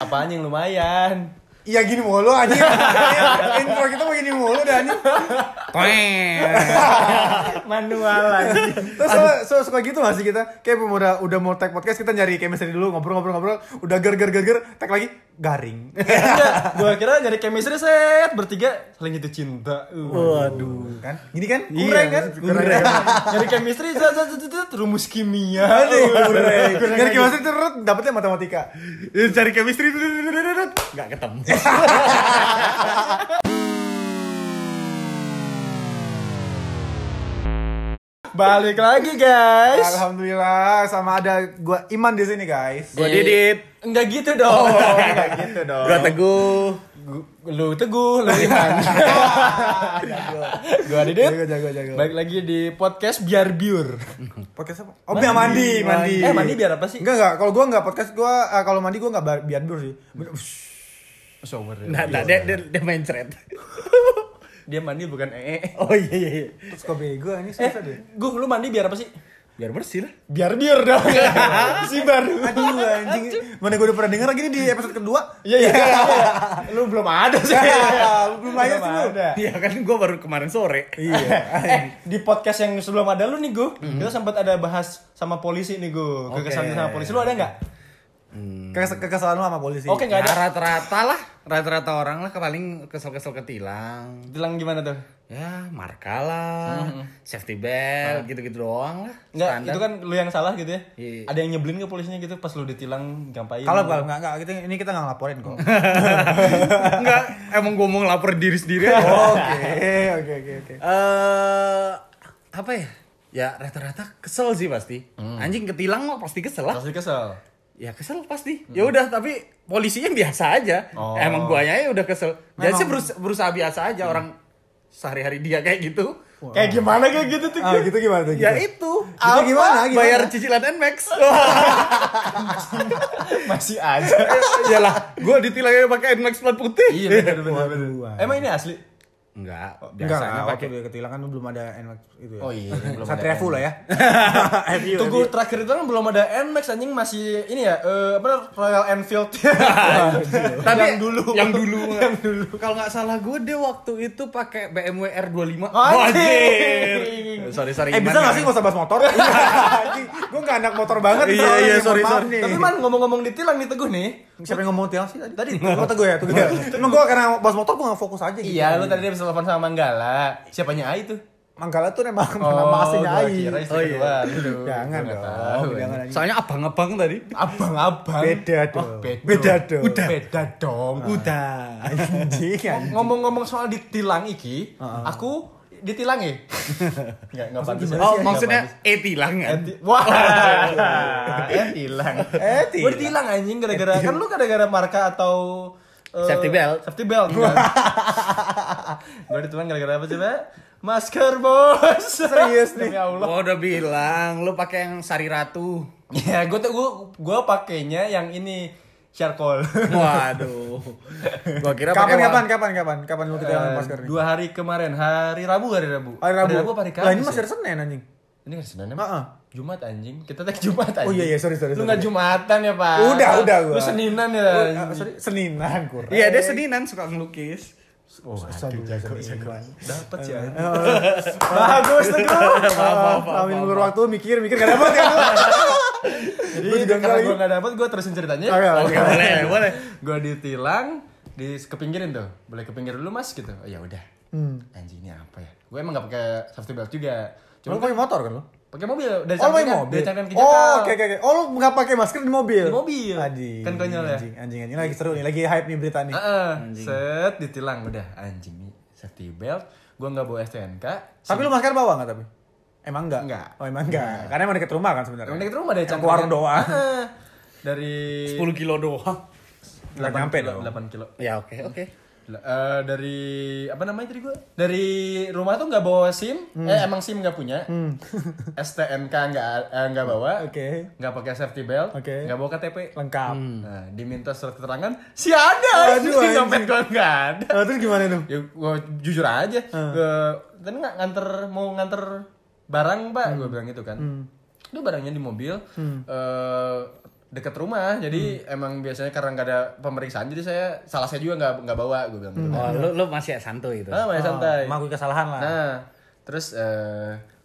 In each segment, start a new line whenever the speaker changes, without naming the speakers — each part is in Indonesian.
Apaan yang lumayan?
Iya gini mulu anjing. Kayaknya Intro kita begini mulu dah anjing.
Manualan.
Terus suka, suka, suka gitu gak sih kita? Kayak udah, udah mau tag podcast kita nyari chemistry dulu ngobrol-ngobrol-ngobrol. Udah ger ger ger ger tag lagi garing.
Gue kira nyari chemistry set bertiga saling itu cinta. Uh.
Waduh kan? Gini kan?
Iya,
Kurang kan?
Kurang. Nyari chemistry set set, set, set, set, rumus kimia.
Aduh,
Uh.
kurang. Nyari chemistry terus dapetnya matematika.
Cari chemistry nggak ketemu.
Balik lagi guys.
Alhamdulillah sama ada gua Iman di sini guys.
Gua Didit,
Enggak gitu dong. Enggak gitu dong.
gua Teguh.
Gu- lu teguh, lu iman. Gua
Jago
Didit.
jago jago.
Baik lagi di podcast biar biur.
Podcast apa? Oh, biar mandi, mandi.
Eh mandi biar apa sih?
Enggak enggak, kalau gua enggak podcast gua eh, kalau mandi gua enggak bar- biar dulu sih.
Shower. ya.
Nah, nah, dia, dia, dia main thread.
Dia mandi bukan eh, ee.
Oh iya iya iya.
Terus kok bego
Eh,
ini susah deh.
Gu, lu mandi biar apa sih?
Biar bersih lah.
Biar biur dong. si baru.
Aduh anjing. Mana gue udah pernah denger lagi nih di episode kedua.
Iya iya. iya. Lu belum ada sih.
Belum aja sih lu.
ada.
Iya kan gua baru kemarin sore.
Iya.
Eh, di podcast yang sebelum ada lu nih, Gu, kita sempat ada bahas sama polisi nih, Gu. Kekesalan
Oke.
sama polisi. Lu ada nggak?
Hmm.
Kekes kekesalan lu sama polisi.
Oke, nggak
Ya,
ada.
rata-rata lah, rata-rata orang lah paling kesel-kesel ketilang.
Bilang gimana tuh?
Ya, marka lah, safety belt, gitu-gitu doang lah.
Enggak, itu kan lu yang salah gitu ya.
Iya.
Ada yang nyebelin ke polisinya gitu pas lu ditilang gampain.
Kalau kalau enggak enggak kita ini kita enggak ngelaporin kok.
Enggak, emang gua mau lapor diri sendiri. aja.
Oke, oke oke oke.
eh apa ya? Ya rata-rata kesel sih pasti. Anjing ketilang mah pasti kesel lah.
pasti kesel.
Ya kesel pasti. Ya udah tapi polisinya biasa aja.
Oh.
Emang guanya ya udah kesel. Jadi sih berus- berusaha, biasa aja orang sehari-hari dia kayak gitu.
Kayak gimana kayak gitu tuh?
Ah, gitu gimana tuh? Gitu?
iya.
Ya itu.
Apa? Gimana?
Bayar cicilan Nmax.
Masih aja.
Iyalah, gua ditilangnya pakai Nmax plat putih.
iya benar benar benar.
Waduh.
Emang ini asli?
Enggak,
Oh, Enggak,
biasanya
waktu
pakai
dia ketilang kan belum ada NMAX itu ya.
Oh iya, belum
Satria
ada
full lah ya. Eh, FU.
Tunggu terakhir itu kan belum ada Nmax anjing masih ini ya eh, apa Royal Enfield.
Tapi
yang dulu.
yang dulu.
yang dulu.
Kalau nggak salah gue dia waktu itu pakai BMW R25.
Anjir.
Sorry sorry.
Eh bisa gak sih gak usah bahas motor? Iya, Gue gak anak motor banget
kan?
soalnya nih,
Iya, iya,
mohon
sorry,
maaf
sorry.
nih.
Tapi man ngomong-ngomong ditilang nih Teguh nih.
Siapa yang ngomong tiang sih tadi?
Tadi Teguh.
Teguh teguh ya, teguh ya. Emang gue karena bahas motor gue gak fokus aja gitu.
Iya, lu tadi bisa telepon sama Manggala. Siapanya Ai tuh? Oh,
Manggala tuh emang nama aslinya
gua
Ai.
Kira istri
Oh,
oh,
iya.
iya.
Jangan dong, jangan anjing.
Soalnya abang-abang tadi.
Abang-abang.
Beda dong.
Oh, beda,
Beda dong.
Udah. Beda dong.
Udah.
Anjing, anjing.
Ngomong-ngomong soal ditilang iki, aku ditilang ya? Enggak, enggak pantas. ya.
Oh
Nggak
maksudnya
pantas.
eh tilang kan?
Eti- Wah, Eh, etilang.
Eh,
Gue
tilang. Eh,
ditilang anjing gara-gara kan lu gara-gara marka atau eh,
Safety belt.
Safety belt. Gue ditilang gara-gara apa coba? Masker bos.
Serius nih?
Demi Allah.
Gua udah bilang lu pakai yang Sari Ratu.
Ya, gue tuh gue gue pakainya yang ini charcoal.
Waduh. Gua kira
Kapan,
pakai
kapan, kapan, kapan, kapan lu ketilang
Eh,
masker nih?
dua hari kemarin hari Rabu hari Rabu
Hari Rabu.
apa hari Kamis
Lah ini
ya?
masih ada Senin anjing.
Ini kan Senin emang?
Heeh.
Jumat anjing. Kita tag Jumat anjing.
Oh iya, iya, sorry, sorry,
Lu
sorry.
nggak Jumatan ya, Pak?
Udah, udah gua.
Lu Seninan ya.
Oh,
anjing.
ah, sorry, Seninan kurang.
Iya dia seninan suka ngelukis.
Oh,
Aduh, Seninan.
Dapat ya. Bagus teguh.
Kami mengulur waktu mikir-mikir gak dapet kan lu?
Jadi
Iya, Gua juga
karena
nggak
gue nggak dapat, gue terusin ceritanya.
Oke,
Oke boleh boleh.
Gue ditilang di ke pinggirin tuh. Boleh ke pinggir dulu mas gitu. Oh ya udah.
Hmm.
Anjing ini apa ya? Gue emang nggak pakai safety belt juga.
Cuma
Cuma
pakai motor kan lu?
pakai mobil dari
Oh, lu
samping
pakai
kan,
mobil.
dari samping ke Jakarta.
Oh, oke oke oke. Oh, lu enggak pakai masker di mobil.
Di mobil.
Anjing.
Kan konyol ya?
Anjing, anjing, anjing. Lagi seru nih, lagi hype nih berita nih.
Heeh, set ditilang udah anjing nih safety belt. Gua nggak bawa STNK.
Tapi lu masker bawa enggak tapi? Emang enggak?
Enggak.
Oh, emang enggak. Karena emang deket rumah kan sebenarnya.
Emang deket rumah dari
Yang ke warung doang.
Heeh. dari
10 kilo doang.
Nggak nyampe
kilo,
dong.
8 kilo.
Ya oke oke.
Lah, eh, dari apa namanya tadi gua? Dari rumah tuh nggak bawa SIM.
Hmm.
Eh emang SIM nggak punya. STNK nggak eh, nggak bawa.
Oke.
Nggak pakai safety belt.
Oke.
Nggak bawa KTP.
Lengkap.
Nah, diminta surat keterangan si ada.
Waduh,
Di
anjing.
dompet gua nggak ada.
Nah, terus gimana tuh?
ya gua jujur aja
Hmm.
Gua- kan nggak nganter mau nganter
Hmm.
barang pak gue bilang gitu kan itu barangnya di mobil Eh deket rumah jadi
Hmm.
emang biasanya karena nggak ada pemeriksaan jadi saya salah saya juga nggak nggak bawa gue bilang gitu
Oh, lu, lu masih santuy itu.
ah main santai
mengakui kesalahan lah
nah terus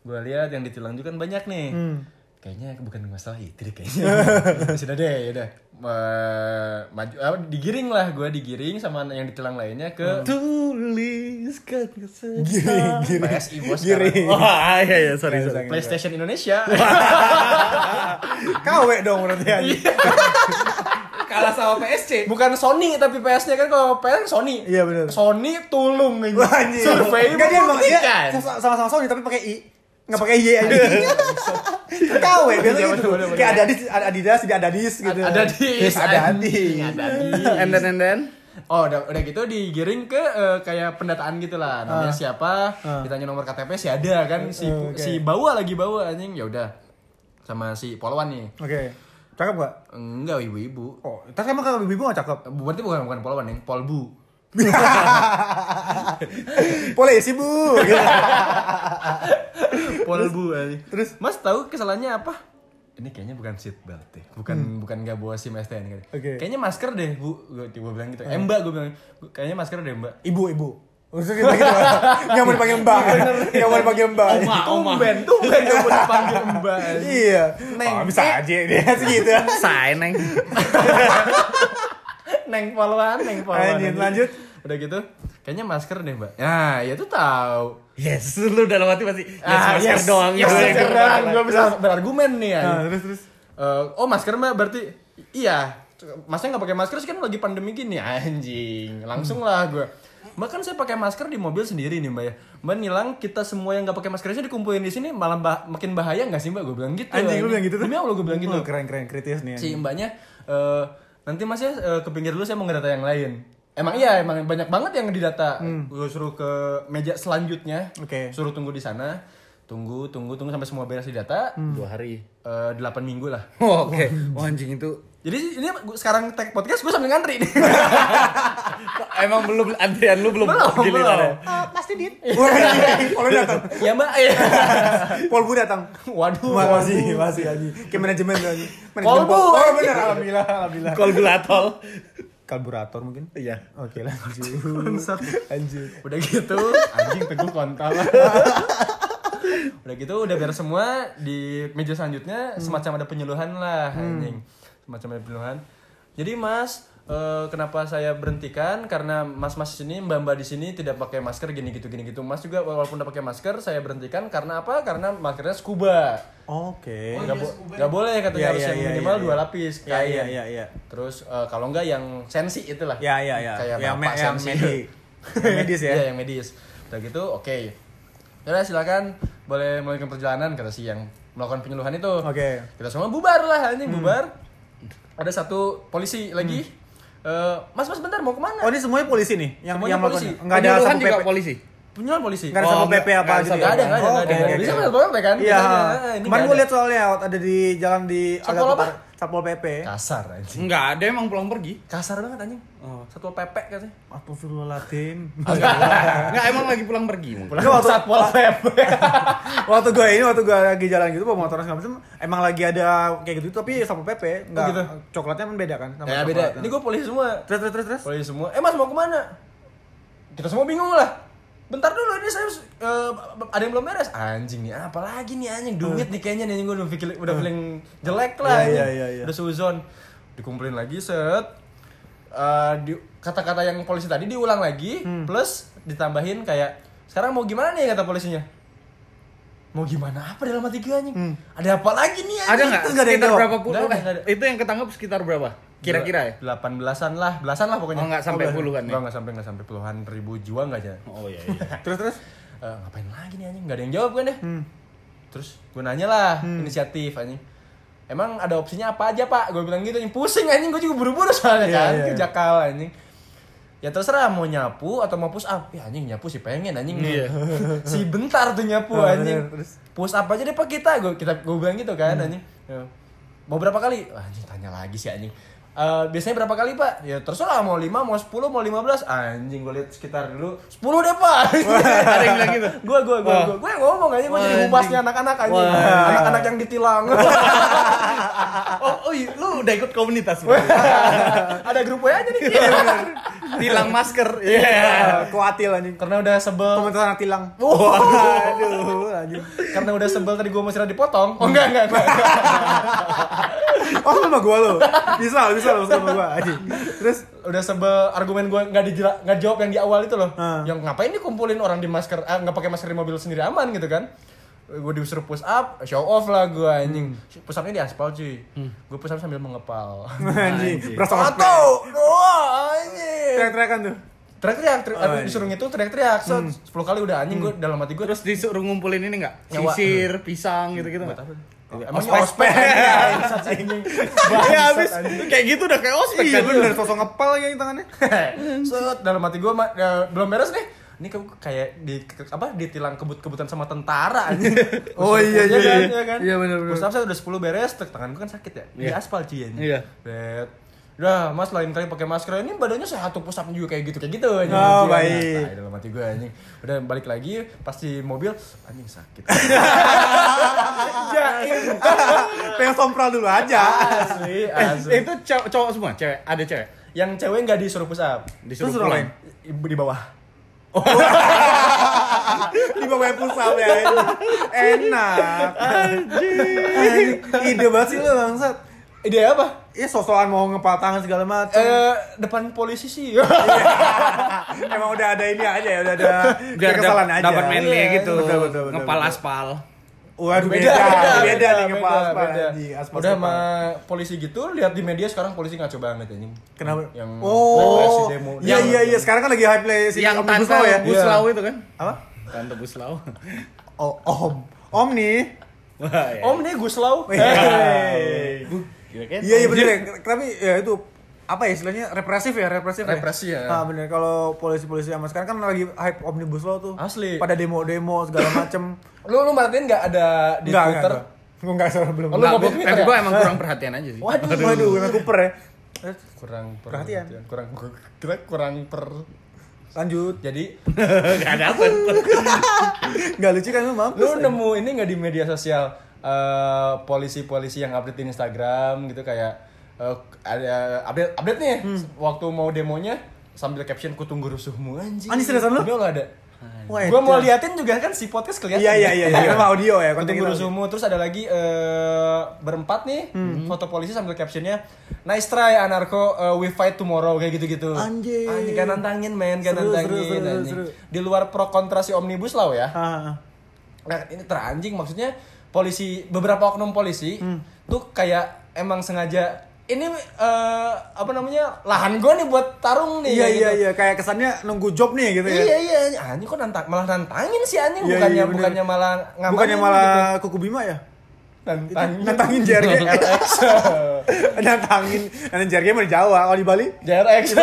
gue lihat yang ditilang juga kan banyak nih
Hmm.
kayaknya bukan masalah itu deh kayaknya sudah deh ya udah Ma- maju ah, digiring lah gue digiring sama yang ditilang lainnya ke
Hmm.
Tuliskan
Giring,
kesedihan.
giring.
PSI bos
Giring.
Wah, iya iya, sorry sorry.
sekarang. PlayStation Indonesia
KW dong berarti anjing.
Iya.
Kalah sama PSC.
bukan Sony tapi PS-nya kan kalau PS Sony
Iya, benar.
Sony tulung ini
Wah, anjing.
survei kan?
Enggak dia emang dia
membuktikan.
sama- sama-sama Sony tapi pakai I. Enggak pakai Y anjing. KW biasa
Iya,
gitu.
bener, bener,
Kayak ada Adis, ada Adidas, dia ada Adis gitu.
ada di
ada Adis.
ada
And
di
then and then.
oh udah udah gitu digiring ke eh, kayak pendataan gitu lah namanya siapa ditanya nomor KTP si ada kan si
Ah. Eh, oke.
si bawa lagi bawa anjing ya udah sama si polwan nih
Oke. Cakep gak?
enggak ibu-ibu
Oh, tapi emang kakak bibi gak cakep?
berarti bukan bukan polwan yang polbu
Polisi bu. Gitu.
polbu anjing
terus?
mas tahu kesalahannya apa ini kayaknya bukan seat belt deh bukan bukan nggak bawa sim STN kali.
Hmm. Oke.
gitu. kayaknya masker deh bu gue bilang gitu eh mbak gue bilang kayaknya masker deh mbak
Ibu, ibu. Terus dia bilang gitu. Nggak mau dipanggil mbak. Nggak mau dipanggil mbak.
Oma, oma.
tumben tumben gak boleh panggil mbak anjing.
Iya. Oh, bisa
eh.
aja dia segitu.
Say, neng.
neng polwan neng polwan
Lanjut,
anjing.
lanjut.
udah gitu kayaknya masker deh mbak nah ya tuh tahu Ya,
Yes, lu dalam hati pasti. Ah, Yes, masker doang.
yes, Ah,
Yes,
masker
doang.
doang gue bisa berargumen nih ya
Nah, terus terus.
oh masker mbak berarti iya masnya nggak pakai masker sih kan lagi pandemi gini anjing langsung lah gue mbak kan saya pakai masker di mobil sendiri nih mbak ya mbak nilang kita semua yang nggak pakai masker aja dikumpulin di sini malah bah- makin bahaya nggak sih mbak gue bilang gitu
Anjing lu bilang gitu tuh.
demi allah gue bilang gitu
Oh, keren keren kritis nih.
si mbaknya eh, nanti mas ya eh, ke pinggir dulu saya mau ngedata yang lain emang iya emang banyak banget yang didata gue suruh ke meja selanjutnya
Oke.
suruh tunggu di sana tunggu tunggu tunggu sampai semua beres didata
Dua hari.
Eh, delapan minggu lah
Oh, Oke, Wah, anjing itu
jadi ini gua- sekarang tag podcast gue sambil ngantri nih.
emang belum antrian lu belum
belum belum
giliran.
pasti dit. Wah, iya, iya. Kalau datang,
ya mbak ya.
Polbu datang.
waduh
Ma- masih masih anjing. Ke manajemen lagi.
Polbu,
Oh,
anjing.
benar alhamdulillah alhamdulillah.
Kolgulatol.
Karburator mungkin.
Iya.
Oke, lanjut.
Bangsat.
Lanjut.
udah gitu anjing teguh kontol udah gitu udah beres semua di meja selanjutnya
Hmm.
semacam ada penyuluhan lah anjing semacam ada penyuluhan jadi mas eh, kenapa saya berhentikan karena mas-mas di sini mbak-mbak di sini tidak pakai masker gini gitu gini gitu mas juga walaupun udah pakai masker saya berhentikan karena apa karena maskernya scuba
Oke.
nggak bo- nggak boleh katanya
Iya,
harus
iya,
yang
iya,
minimal
iya,
dua
iya.
lapis
Iya,
kain
iya, iya, iya.
terus eh, kalau nggak yang sensi itulah
Ya ya ya.
kayak bapak
Yang me- yang
sensi
medis. Yang medis ya.
Iya, yang medis. Udah gitu, oke. Ya Udah silakan boleh melanjutkan perjalanan kata si yang melakukan penyuluhan itu.
Oke. Hmm.
Kita semua bubar lah ini bubar. Ada satu polisi lagi.
Hmm.
Eh, mas mas bentar mau kemana?
Oh, ini semuanya polisi nih yang
Semuanya
yang
polisi.
melakukan. Enggak ada
Penyuluhan
satu
kan juga
PP.
polisi.
Penyuluhan polisi.
Enggak ada
Oh,
satu
nggak-
PP apa
nggak ada
Nggak
gitu.
ada, nggak ada, nggak ada.
Oke, oke,
Bisa
oke.
nggak boleh kan?
Iya.
Kita- eh, ini
Kemarin
nggak
gue
ada.
lihat soalnya ada di jalan di
Satpol
agak
apa?
utara. Satpol PP.
kasar anjing.
Enggak ada emang pulang pergi.
Hmm.
Kasar banget anjing.
Oh.
Satu pepek katanya.
Astagfirullahaladzim.
Enggak emang lagi pulang pergi.
Pulang
Lu waktu-
satpol pepek.
waktu gue ini waktu gue lagi jalan gitu bawa motor segala macam emang lagi ada kayak gitu tapi satpol PP enggak
gitu.
coklatnya kan beda kan sama
Ya beda.
coklatnya.
Ini gue polisi semua.
terus terus terus terus
Polisi semua. Eh mas mau kemana? Kita semua bingung lah. Bentar dulu ini saya eh, ada yang belum beres. Anjing nih, apa lagi nih anjing duit nih kayaknya nih gue udah feeling, udah feeling jelek lah.
Eh. Iya,
anjing.
iya, iya, iya.
Udah suzon. Dikumpulin lagi set. Eh, di- kata-kata yang polisi tadi diulang lagi
Hmm.
plus ditambahin kayak sekarang mau gimana nih kata polisinya? Mau gimana apa dalam hati gue anjing? Ada apa lagi nih anjing?
Ada nggak?
Itu nggak Hmm. ada yang
Sekitar
jawab.
berapa puluh?
Nggak ada,
eh,
nggak ada.
Itu yang ketangkep sekitar berapa? Kira-kira ya?
18-an lah, belasan lah pokoknya.
Oh, nggak sampai puluhan ya?
Enggak, enggak sampai enggak sampai puluhan ribu jiwa enggak aja.
Oh iya iya.
terus Hmm. terus
Eh, ngapain lagi nih anjing? Gak ada yang jawab kan deh. Terus gue nanya lah,
Hmm.
inisiatif anjing. Emang ada opsinya apa aja pak? Gue bilang gitu, anjing. pusing anjing, gue juga buru-buru soalnya
Iya,
kan,
iya.
kerja kal anjing. Ya terserah mau nyapu atau mau push up. Ya anjing nyapu sih pengen anjing.
Iya.
si bentar tuh nyapu
Oh,
anjing.
bener. Terus? Hmm.
Push up aja deh pak kita, gue kita gue bilang gitu kan anjing. Ya. Mau berapa kali? Wah, anjing tanya lagi sih anjing. Eh, biasanya berapa kali pak? Ya terserah mau 5, mau 10, mau 15 Anjing gue lihat sekitar dulu 10 deh pak
Ada yang bilang gitu.
gue gue gue
Wah.
gue gue ngomong aja gue jadi
Wah,
ngupasnya anak-anak aja
Wah.
anak-anak yang ditilang
Oh, oh iya, lu udah ikut komunitas berarti.
Ada grup WA aja nih.
Tilang masker. Iya.
Kuatil anjing.
Karena udah sebel,
Komentar anak tilang.
Waduh, anjing.
karena udah sebel tadi gua mau istirahat dipotong. Oh enggak, enggak, enggak.
Oh lu sama gua lu. Bisa, bisa lu sama gua anjing. Terus
udah sebel argumen gua nggak dijela, nggak jawab yang di awal itu loh.
Ah.
Yang ngapain dikumpulin orang di masker ah, nggak pakai masker di mobil sendiri aman gitu kan? Gue disuruh push up, show off lah gue anjing. Push upnya di aspal cuy. Gue push up sambil mengepal.
anjing, berasa
Satu, dua, anjing.
Teriak-teriakan tuh.
Teriak-teriak, teri-
Oh, iya.
aduh, disuruh ngitung teriak-teriak. So,
Hmm.
10 kali udah anjing gue dalam hati gue.
Terus disuruh ngumpulin ini enggak?
Nyawa.
Sisir, pisang gitu-gitu enggak?
Oh,
Emangnya
Ospek.
ospek anjing.
Iya, habis kayak gitu udah kayak ospek
Iya,
kan.
bener sosok ngepal lagi anjing tangannya.
Set dalam hati gue belum beres nih. Ini ke- kayak di ke- apa ditilang kebut-kebutan sama tentara anjing.
Oh, iya, iya,
kan,
iya.
kan?
Iya, benar, benar.
Push up saya udah 10 beres, tek, tangan gue kan sakit ya. Di
Iya.
aspal cuy anjing.
Iya.
Bet. Udah, Mas lain kali pakai masker. Ini badannya sehat tuh push up juga kayak gitu, kayak gitu anjing. Anjing,
Oh, baik.
anjing. Tai, dalam hati gue anjing. Udah balik lagi pasti mobil anjing sakit. Iya,
Pengen sompral dulu aja.
asli, asli.
Eh, itu cowok, cowok semua, cewek, ada cewek.
Yang cewek nggak disuruh push up.
Disuruh
Terus
pulang.
Ibu di bawah.
di bawah pusat ya enak anjing ide banget sih lu bangsat
Ide apa?
ya sosokan mau ngepal tangan segala macam
Eh, depan polisi sih.
emang udah ada ini aja ya udah ada
Biar
kekesalan
dap-
aja
dapat manly
Iya,
gitu.
betul, betul, betul,
Ngepal
betul.
aspal.
waduh beda
beda
beda,
beda
nih ngepal
beda,
aspal
beda.
anjing, aspal
udah
aspal.
sama polisi gitu lihat di media sekarang polisi ngaco banget anjing
kenapa
yang represi
oh
demo
iya
Yang-
iya iya sekarang kan lagi hype play si
Yang
Omnibus
tante
Law ya
Buslau itu kan.
apa
Tante Buslau.
oh om om nih
Wah, ya.
om nih Guslau Eh.
Hey.
Kira-kira
Iya iya bener ya. Tapi ya itu apa ya istilahnya represif ya represif
Represi ya.
Ah bener kalau polisi-polisi sama sekarang kan lagi hype omnibus law tuh.
Asli.
Pada demo-demo segala macem.
lu lu merhatiin nggak ada di
Enggak enggak.
twitter
Gue enggak salah belum.
Oh, lu
Enggak,
mau
Nah, gua-
Twitter
tapi
ya?
gue emang kurang perhatian aja sih.
Waduh.
Waduh, waduh, gue Cooper ya. Eh,
kurang
Perhatian.
kurang kita kurang per
Lanjut.
jadi
Gak ada apa.
Enggak lucu kan lu mampus.
lu nemu ini nggak di media sosial eh, polisi-polisi yang update di Instagram gitu kayak eh, ada update update nih
Hmm.
waktu mau demonya sambil caption ku tunggu rusuhmu anjing
Anjing, seriusan lu?
Dia nggak ada
Wah,
gue mau
itu.
liatin juga kan si podcast kelihatan
Iya iya iya iya. Kan audio ya
Ku
konten
tunggu
kita.
rusuhmu terus ada lagi eh, berempat nih
Hmm.
foto polisi sambil captionnya nice try anarko eh, we fight tomorrow kayak gitu-gitu
Anjing.
anjing kan nantangin men kan
Seru, seru,
nantangin
seru, seru,
anjing.
seru.
di luar pro kontra si omnibus law ya
Ah, ah.
Nah, ini teranjing maksudnya polisi beberapa oknum polisi
Hmm.
tuh kayak emang sengaja ini eh, apa namanya lahan gue nih buat tarung nih
Iya
gitu.
iya iya kayak kesannya nunggu job nih gitu ya.
Iya iya anjing kok nantang malah nantangin sih anjing
Iya,
bukannya
iya, bener.
bukannya malah ngamanin
Bukannya
gitu.
malah kuku bima ya?
nantangin
Nantangin JRG. Nantangin, nantangin JRG mau di Jawa, kalau di Bali
JRX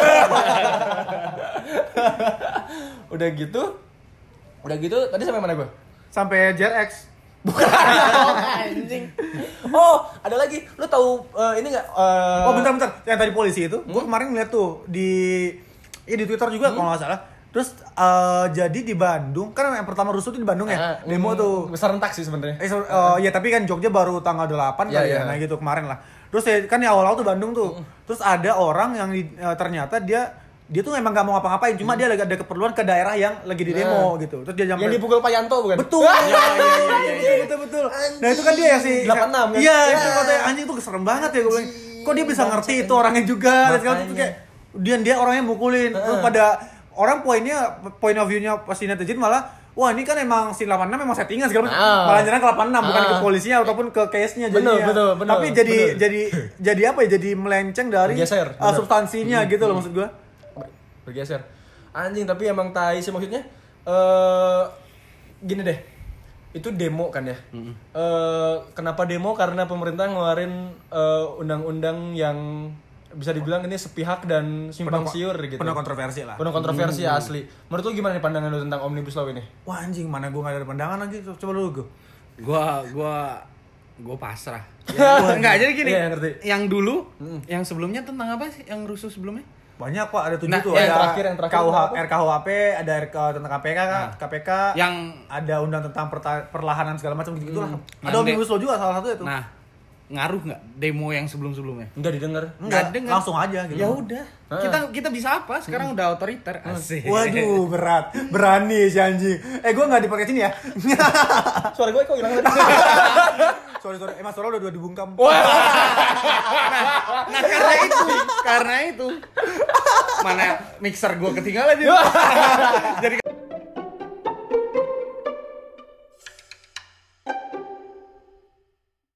udah gitu udah gitu tadi sampai mana gue
sampai JRX.
anjing oh ada lagi lu tahu eh, ini nggak eh,
Oh bentar bentar, yang tadi polisi itu, gue kemarin ngeliat tuh di ya di Twitter juga kalau nggak salah. Terus eh, jadi di Bandung, kan yang pertama rusuh itu di Bandung ya,
Ah, mm,
demo tuh.
serentak sih sebenarnya
Eh, so- eh, ya tapi kan Jogja baru tanggal 8
Iya,
kali
iya.
ya, nah gitu kemarin lah. Terus ya, kan ya awal-awal tuh Bandung tuh. Terus ada orang yang di- eh, ternyata dia dia tuh emang gak mau ngapa-ngapain, cuma dia lagi ada keperluan ke daerah yang lagi di demo gitu. Terus dia
yang Ya,
sampai
dipukul Pak Yanto bukan Ah,
Betul. Iya, iya, iya, betul, betul, betul. Nah itu kan dia yang si
86 kan?
Iya,
Ya.
itu katanya anjing tuh serem banget ya gue bilang. Kok dia bisa ngerti itu orangnya juga dan segala macam.
Makanya.
kayak dia dia orangnya mukulin. Terus pada orang poinnya point of view-nya pasti netizen malah Wah ini kan emang si 86 memang settingan segala macam.
Ah.
Malah nyerang ke 86 bukan
Ah.
ke polisinya ataupun ke case-nya
Bener,
jadinya.
bener, bener,
Tapi jadi
bener.
jadi jadi apa ya? Jadi melenceng dari
Bergeser,
uh,
bener. Hmm,
substansinya gitu loh maksud gua.
bergeser anjing tapi emang tai sih maksudnya eh gini deh itu demo kan ya Eh, kenapa demo karena pemerintah ngeluarin eh, undang-undang yang bisa dibilang ini sepihak dan simpang siur gitu
Penuh kontroversi lah.
penuh kontroversi
Mm.
asli menurut lu gimana nih pandangan lu tentang omnibus law ini
Wah anjing mana gua gak ada pandangan lagi. Coba lu gua.
Gua gua gua pasrah. Ya, gua- Hmm. Enggak, jadi gini.
Iya, ngerti.
Yang dulu, yang sebelumnya tentang apa sih? Yang rusuh sebelumnya?
banyak pak ada tujuh
Nah,
tuh
yang
ada
terakhir, yang terakhir
KUH,
apa?
RKUHP ada RK tentang KPK KPK
Nah. Yang
ada undang tentang perta- perlahanan segala macam gitu gitulah
Hmm.
ada
Yang
omnibus law juga salah satu itu
nah, ngaruh nggak demo yang sebelum-sebelumnya?
Enggak didengar.
Enggak,
Nggak dengar.
langsung aja gitu.
Ya udah, kita kita bisa apa? Sekarang udah otoriter. Asik.
Waduh, berat. Berani si anjing. Eh, gua nggak dipakai sini ya.
Suara gue kok hilang tadi.
sorry, sorry. Emang suara udah dibungkam.
Nah, karena itu, karena itu. Mana mixer gua ketinggalan di Jadi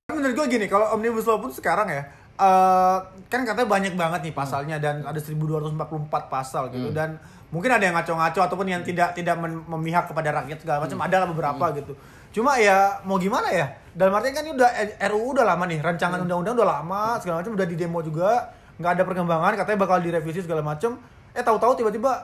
Tapi menurut gue gini, kalau omnibus law pun sekarang ya, eh, kan katanya banyak banget nih pasalnya dan ada 1244 pasal gitu dan mungkin ada yang ngaco-ngaco ataupun yang tidak tidak men- memihak kepada rakyat segala macam ada lah beberapa gitu. Cuma ya mau gimana ya? Dalam artian kan ini udah eh, RUU udah lama nih, rancangan undang-undang udah lama segala macam udah di demo juga, nggak ada perkembangan, katanya bakal direvisi segala macam. Eh tahu-tahu tiba-tiba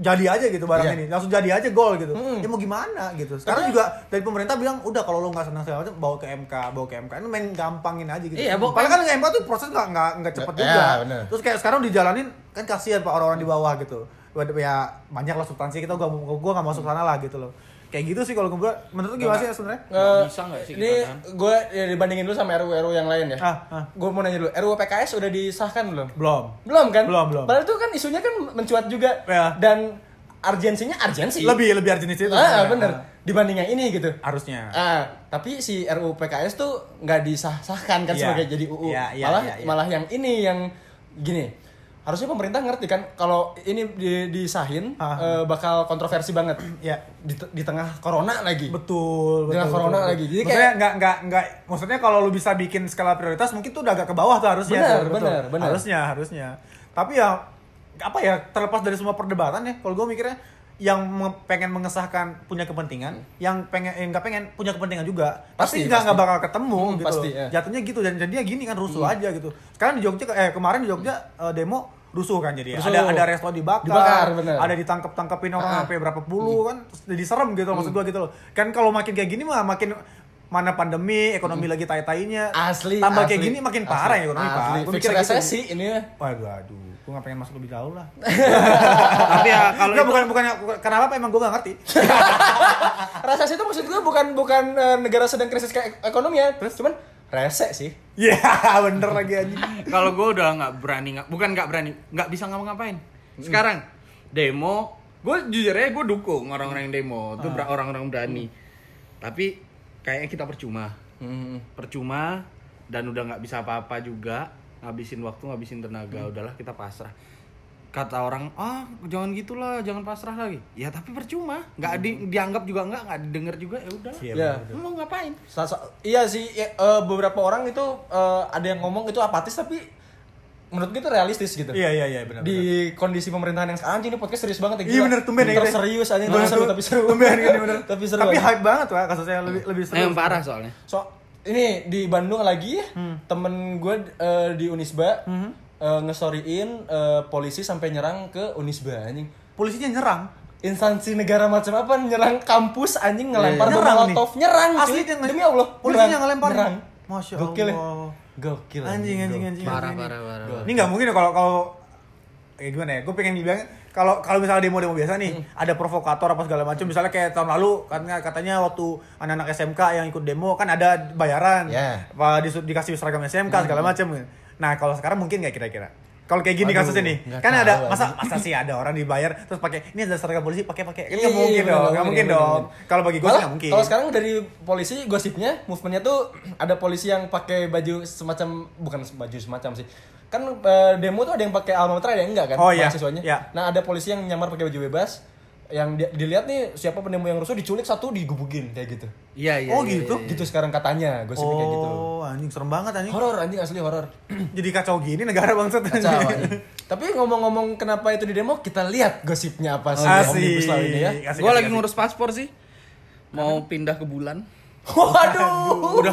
jadi aja gitu barang
Iya.
ini langsung jadi aja gol gitu ya mau gimana gitu sekarang juga dari pemerintah bilang udah kalau lo nggak senang segala macam bawa ke MK bawa ke MK ini main gampangin aja gitu
Iya, bawa-
padahal kan MK tuh proses nggak nggak nggak cepet
Iya,
juga
bener.
terus kayak sekarang dijalanin kan kasihan pak orang-orang di bawah gitu Waduh, ya banyak lah substansi kita gua gua nggak masuk sana lah gitu loh kayak gitu sih kalau gue menurut lu gimana sih sebenarnya
Eh,
bisa nggak sih
Ini
kita, kan?
gue ya, dibandingin dulu sama RUU yang lain ya.
Ah, ah.
Gue mau nanya dulu, RUU PKS udah disahkan belum?
belum
Belum kan?
Belum, belum.
Padahal itu kan isunya kan mencuat juga.
Ya.
Dan urgensinya urgensi.
lebih lebih arjenis itu
Ah,
sebenarnya.
bener.
Ah,
Dibanding yang ini gitu.
harusnya
Ah, tapi si RUU PKS tuh nggak disah-sahkan kan
Iya.
sebagai jadi UU.
Iya, iya,
malah
iya, iya.
malah yang ini yang gini. Harusnya pemerintah ngerti kan kalau ini di- disahin
Ah.
eh, bakal kontroversi banget.
Iya.
Di, te- di tengah corona lagi.
Betul, betul.
Dengan corona
betul.
lagi. Jadi
maksudnya
kayak-
nggak nggak nggak maksudnya kalau lu bisa bikin skala prioritas mungkin tuh udah agak ke bawah tuh harusnya.
Benar,
tuh, betul.
benar, benar.
Harusnya, harusnya. Tapi ya apa ya terlepas dari semua perdebatan ya, kalau gue mikirnya yang me- pengen mengesahkan punya kepentingan, yang pengen yang nggak pengen punya kepentingan juga,
Hmm. Pasti,
tapi nggak
pasti.
nggak bakal ketemu
Hmm,
gitu.
pasti,
loh.
ya. Hmm.
Jatuhnya gitu dan jadinya gini kan rusuh aja gitu. Sekarang di Jogja eh kemarin di Jogja eh, demo rusuh kan jadi ya.
Rusuh.
ada ada resto dibakar,
Dibakar, benar.
ada ditangkap tangkapin orang
Ah. Hmm.
sampai berapa puluh kan terus jadi serem gitu loh, maksud gua gitu loh kan kalau makin kayak gini mah makin mana pandemi ekonomi lagi tai-tainya
Hmm. Asli.
tambah kayak
asli.
gini makin
Asli.
parah ya ekonomi
Asli.
pak Gua
Fix
mikir kayak gitu.
resesi ini ya.
waduh aduh gua nggak pengen masuk lebih jauh lah
tapi ya kalau
Enggak,
itu-
bukan, bukan, bukan- kenapa Pak? emang gua nggak ngerti ah.
Resesi itu maksud gue bukan bukan eh, negara sedang krisis ke- ekonomi ya. Terus cuman rese sih.
ya bener lagi anjing
kalau gue udah nggak berani nggak bukan nggak berani nggak bisa ngapa-ngapain sekarang demo gue jujur aja gue dukung orang-orang yang demo itu ber- orang-orang berani tapi kayaknya kita percuma percuma dan udah nggak bisa apa-apa juga ngabisin waktu ngabisin tenaga udahlah kita pasrah kata orang ah jangan gitulah jangan pasrah lagi ya tapi percuma nggak di- dianggap juga nggak nggak didengar juga ya udah
Iya,
Ya.
mau ngapain
Sa- sa- iya sih, ya, eh, beberapa orang itu eh, ada yang ngomong itu apatis tapi menurut gue itu realistis gitu.
iya iya iya bener bener.
Di kondisi pemerintahan yang sekarang anjing, ini podcast serius banget ya.
Iya
gila.
bener tumben ya
Bentar
gitu ya.
serius aja
Bener,
tapi seru
tuh.
tapi seru.
Tumben kan bener
tapi seru.
Tapi
aja.
hype banget Pak kasusnya lebih lebih seru.
nah, yang parah soalnya
So, ini di Bandung lagi
Hmm.
temen gue eh, di Unisba eh, ngestoriin eh, polisi sampai nyerang ke Unisba anjing.
Polisinya nyerang.
Instansi negara macam apa nyerang kampus anjing ngelempar bom
Iya, Nyerang nih.
molotov nyerang cuy.
Asli dia nge-
demi Allah
polisinya
nyerang,
ngelempar.
nyerang.
Masya
Gokil ya.
Allah.
Gokil
Anjing anjing
gokil.
anjing.
parah
anjing.
parah parah
Ini nggak mungkin ya kalau kalau eh gimana ya? Gue pengen bilang kalau kalau misalnya demo-demo biasa nih,
Hmm.
ada provokator apa segala macam. Misalnya kayak tahun lalu kan katanya waktu anak-anak SMK yang ikut demo kan ada bayaran,
Ya.
apa disu- dikasih seragam SMK
Hmm.
segala macam. Nah kalau sekarang mungkin nggak kira-kira? Kalau kayak gini
Waduh,
kasusnya nih,
nggak
kan
tahu,
ada masa masa sih ada orang dibayar terus pakai ini ada seragam polisi pakai pakai kan nggak
Iya,
mungkin
bener,
dong,
bener,
nggak mungkin
bener,
dong.
bener.
Kalau bagi gue sih
Malah,
nggak mungkin.
Kalau sekarang dari polisi gosipnya movementnya tuh ada polisi yang pakai baju semacam bukan baju semacam sih. Kan eh, demo tuh ada yang pakai alma mater ada yang enggak kan
Oh, iya.
mahasiswanya.
Iya.
Nah, ada polisi yang nyamar pakai baju bebas yang dia- dilihat nih siapa pendemo yang rusuh diculik satu digebukin kayak gitu.
iya iya
Oh,
iya,
gitu?
iya.
Gitu sekarang katanya gosipnya kayak gitu.
Oh anjing serem banget anjing.
Horor anjing asli horor.
Jadi kacau gini negara bangsat.
Kacau, anjing. Tapi ngomong-ngomong kenapa itu di demo, kita lihat gosipnya apa sih
Asik.
Omnibus Law ini ya.
Asik,
Gue
asik,
lagi
asik.
ngurus paspor sih. Mau pindah ke bulan.
Waduh.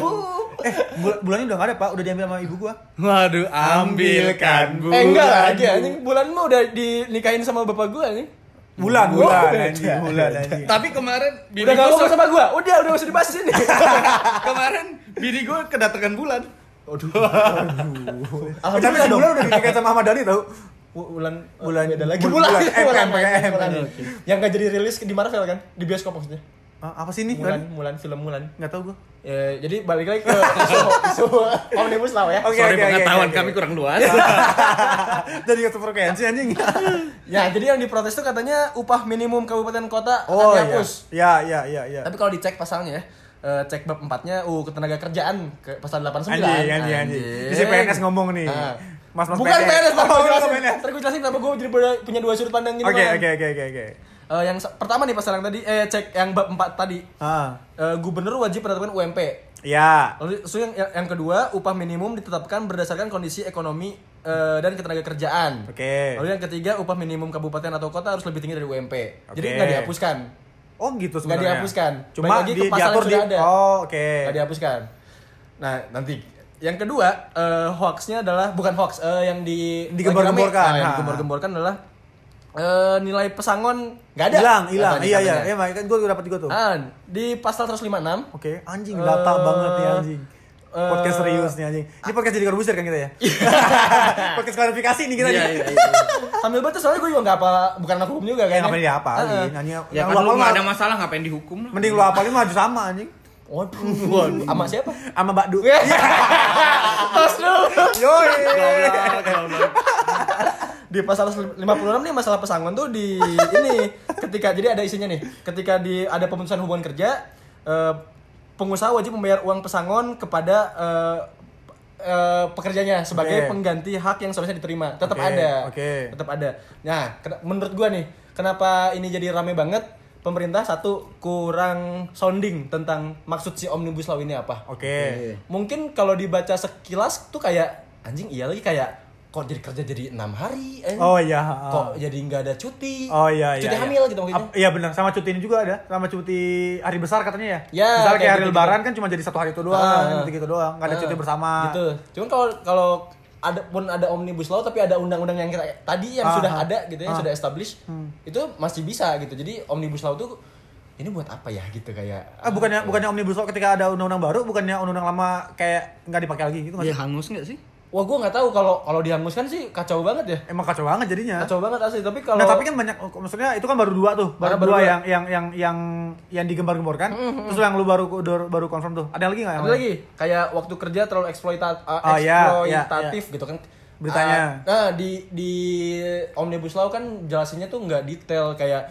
Eh, bul- bulannya udah gak ada pak, udah diambil sama ibu gua
Waduh, ambilkan
Eh enggak
bulan.
lagi anjing, bulan mah udah dinikahin sama bapak gua anjing.
Bulan,
Wah,
bulan,
udah.
anjing, bulan, anjing
Tapi kemarin bini
Udah gak
gua
ngomong
se-
sama gua, udah udah gak usah dibahas ini.
kemarin bini gue kedatangan bulan.
Tapi
Alhamdulillah dong.
sebulan udah dinikahin sama Ahmad Dhani tau
Bulan
Bulan-
beda lagi
bulan-
bulan.
bulan. M, M, M, M.
Yang gak jadi rilis di Marvel kan, di bioskop maksudnya.
Ah, apa sih ini?
Mulan, Mulan film Mulan.
Nggak tahu gue.
Ya, jadi balik lagi ke isu, isu omnibus law ya.
Oke,
Sorry
oke, oke,
pengetahuan
oke, oke.
kami kurang luas.
Jadi satu frekuensi anjing.
Ya, jadi yang diprotes tuh katanya upah minimum kabupaten kota akan
oh ya.
dihapus.
Ya, ya, ya, ya.
Tapi kalau dicek pasalnya ya, eh, cek bab 4-nya UU Ketenaga Kerjaan ke pasal 89.
Anjing, anjing, anjing. Si PNS ngomong nih.
Ah.
Mas-mas
Bukan
PNS.
PNS, Mas.
Oh,
Gua
bukan
jelasin.
PNS.
Ntar gue jelasin kenapa gue jadi ber- punya dua sudut pandang gini.
Oke,
Bang.
oke, oke, oke, oke.
Eh, yang se- pertama nih pasal yang tadi eh cek yang bab 4 tadi.
Ah.
Eh, gubernur wajib menetapkan UMP.
Ya.
Lalu so yang, yang yang kedua, upah minimum ditetapkan berdasarkan kondisi ekonomi eh, dan ketenaga kerjaan.
Oke.
Lalu yang ketiga, upah minimum kabupaten atau kota harus lebih tinggi dari UMP. Jadi
Oke.
nggak dihapuskan.
Oh gitu
Nggak
sebenarnya.
dihapuskan. Balik
Cuma
lagi ke
di,
pasal yang
diatur di.
sudah ada.
Oh oke.
Nggak dihapuskan. Nah, nanti yang kedua, eh, hoaxnya adalah bukan hoax, eh, yang di
Digembar-gemborkan.
Nah, yang
Ha.
digembar-gemborkan adalah eh, nilai pesangon nggak ada.
Hilang,
Nggak
hilang.
ada
Iya, iya.
katanya.
Iya, makanya kan gue dapat juga tuh.
Ah, di pasal 156
Oke, anjing data
Eh,
banget nih anjing. Podcast
eh, Iya.
serius nih anjing. Ini podcast jadi korbuser kan kita ya? podcast klarifikasi nih kita
Iya,
nih.
iya, iya.
sambil baca soalnya gue juga nggak apa bukan anak hukum juga
Ya
kan.
ngapain
Heeh.
dihafalin anjing.
Ya
Yang lu
kan lu
hafalin
nggak ada
mah-
masalah ngapain dihukum lah.
Mending lu hafalin maju sama anjing.
Waduh, Iya. waduh. ah. Sama siapa?
Sama Mbak Du.
Tos dulu.
Yoi.
Goblok, goblok.
Di pasal 56 nih masalah pesangon tuh di ini ketika jadi ada isinya nih. Ketika di ada pemutusan hubungan kerja, eh, pengusaha wajib membayar uang pesangon kepada eh, eh, pekerjanya sebagai
Oke.
pengganti hak yang seharusnya diterima. Tetap
Oke,
ada.
oke.
Tetap ada. Nah, ken- menurut gua nih, kenapa ini jadi rame banget? Pemerintah satu kurang sounding tentang maksud si omnibus law ini apa?
Oke.
Iya. mungkin kalau dibaca sekilas tuh kayak anjing iya lagi kayak kok jadi kerja jadi enam hari eh?
Oh iya. ha.
kok jadi nggak ada cuti
Oh iya iya.
cuti
iya.
hamil gitu maksudnya
Ap- Iya benar, sama cuti ini juga ada, sama cuti hari besar katanya ya.
Ya, kayak
Misalnya kayak hari
gitu-gitu.
lebaran kan cuma jadi satu hari itu doang,
Ah.
gitu gitu doang, nggak ada
Ah,
cuti bersama.
gitu cuman kalau kalau ada pun ada omnibus law tapi ada undang-undang yang kita, tadi yang
Ah,
sudah
ah.
ada gitu yang
Ah.
sudah established itu masih bisa gitu jadi omnibus law tuh ini buat apa ya gitu kayak
Ah bukannya bukannya omnibus law ketika ada undang-undang baru, bukannya undang-undang lama kayak nggak dipakai lagi gitu nggak
Ya
sih?
hangus nggak sih?
wah gue nggak tahu kalau kalau dihanguskan sih kacau banget ya
Emang kacau banget jadinya.
kacau banget asli tapi kalau
Nah tapi kan banyak, maksudnya itu kan baru dua tuh, baru,
Baru- baru dua.
dua,
Mm-hmm.
yang yang yang yang yang digembar-gemborkan. Terus yang lu baru baru confirm tuh. Ada lagi nggak? yang
Ada
lain?
lagi kayak waktu kerja terlalu eksploita- uh,
ya? Oh, iya,
eksploitatif gitu kan.
Beritanya.
Uh, nah, di di Omnibus Law kan jelasinnya tuh nggak detail kayak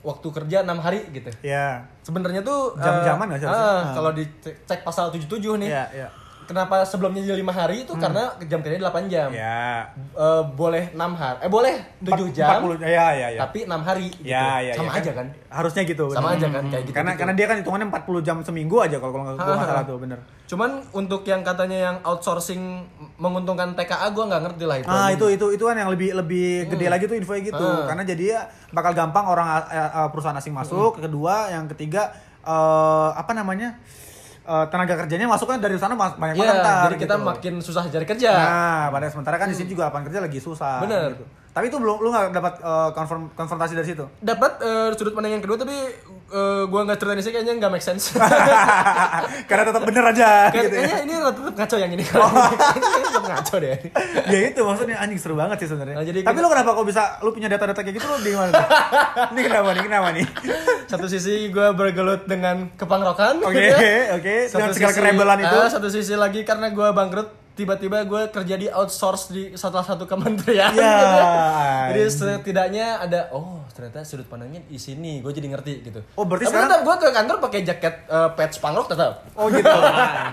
waktu kerja enam hari gitu.
Iya.
Sebenarnya tuh uh,
Jam-jaman nggak sih
uh,
harusnya? Ah.
kalau dicek pasal 77 nih.
Iya, iya.
Kenapa sebelumnya jadi 5 hari itu karena jam kerja 8 jam.
Iya.
Uh, boleh 6 hari. Eh boleh 7 jam.
40 ya ya ya.
Tapi 6 hari gitu.
Ya, ya,
Sama
ya,
aja kan.
Harusnya gitu.
Sama
bener.
aja kan kayak gitu. Ah.
karena karena dia kan hitungannya 40 jam seminggu aja kalau kalau nggak gua nggak salah tuh bener
Cuman untuk yang katanya yang outsourcing menguntungkan TKA gua nggak ngerti lah itu.
ah itu itu itu kan yang lebih lebih gede lagi tuh infonya gitu
Ah.
karena jadi ya bakal gampang orang eh, eh, perusahaan asing masuk
Hmm.
kedua yang ketiga eh, apa namanya Eh, tenaga kerjanya masuknya dari sana mas- banyak banget
Iya,
ntar,
jadi kita
gitu.
makin susah cari kerja.
nah pada sementara kan di sini juga lapangan kerja lagi susah
Bener.
gitu. tapi itu belum lu nggak dapat eh, konfirm konfrontasi dari situ
Dapat eh, sudut pandang yang kedua tapi eh, gua nggak ceritain sih kayaknya nggak make sense.
karena tetap bener aja
Kayak-
gitu ya. Oh.
kayaknya ini tetap ngaco yang ini. Kayaknya tetap ngaco deh.
ya itu maksudnya anjing seru banget sih sebenarnya.
Nah, jadi
Tapi
kita-
lu kenapa kok bisa lu punya data-data kayak gitu lu di mana? tuh? ini kenapa nih? Kenapa nih?
Satu sisi gua bergelut dengan kepangrokan.
Oke,
gitu ya.
oke.
Satu
Dengan segala
sisi-
kerebelan itu.
ah, satu sisi lagi karena gua bangkrut tiba-tiba gue kerja di outsource di salah satu kementerian
Ya,
gitu ya. jadi
anjing.
setidaknya ada oh ternyata sudut pandangnya di sini gue jadi ngerti gitu
Oh, berarti
tapi
sekarang-
tetap gue ke kantor pakai jaket eh, patch pangrok tetap
Oh gitu.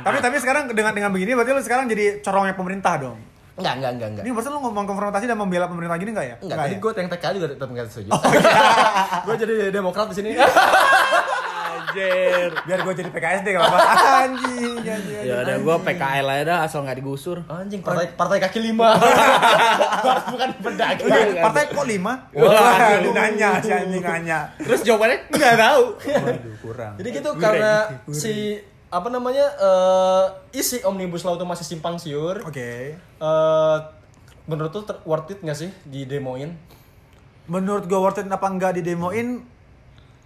tapi tapi sekarang dengan dengan begini berarti lu sekarang jadi corongnya pemerintah dong.
enggak enggak enggak enggak
Ini berarti lu ngomong konfrontasi dan membela pemerintah gini enggak ya?
enggak
Nggak
tadi
ya? Oh, iya.
gue yang TK juga tetap enggak setuju gue jadi demokrat di sini
Anjir.
Biar gue jadi PKS deh kalau apa. Anjing, anjing. anjing.
Ya udah gua PKL aja dah asal nggak digusur.
anjing partai partai kaki lima bukan
Iya,
Lah,
pedagang
partai kok lima?
Wah,
Waduh, nanya si anjing nanya.
Terus jawabannya nggak tahu.
Waduh, kurang.
Jadi gitu karena si apa namanya eh, isi omnibus law itu masih simpang siur.
Oke.
Eh, menurut tuh worth it nggak sih di demoin?
menurut gue worth it apa enggak didemoin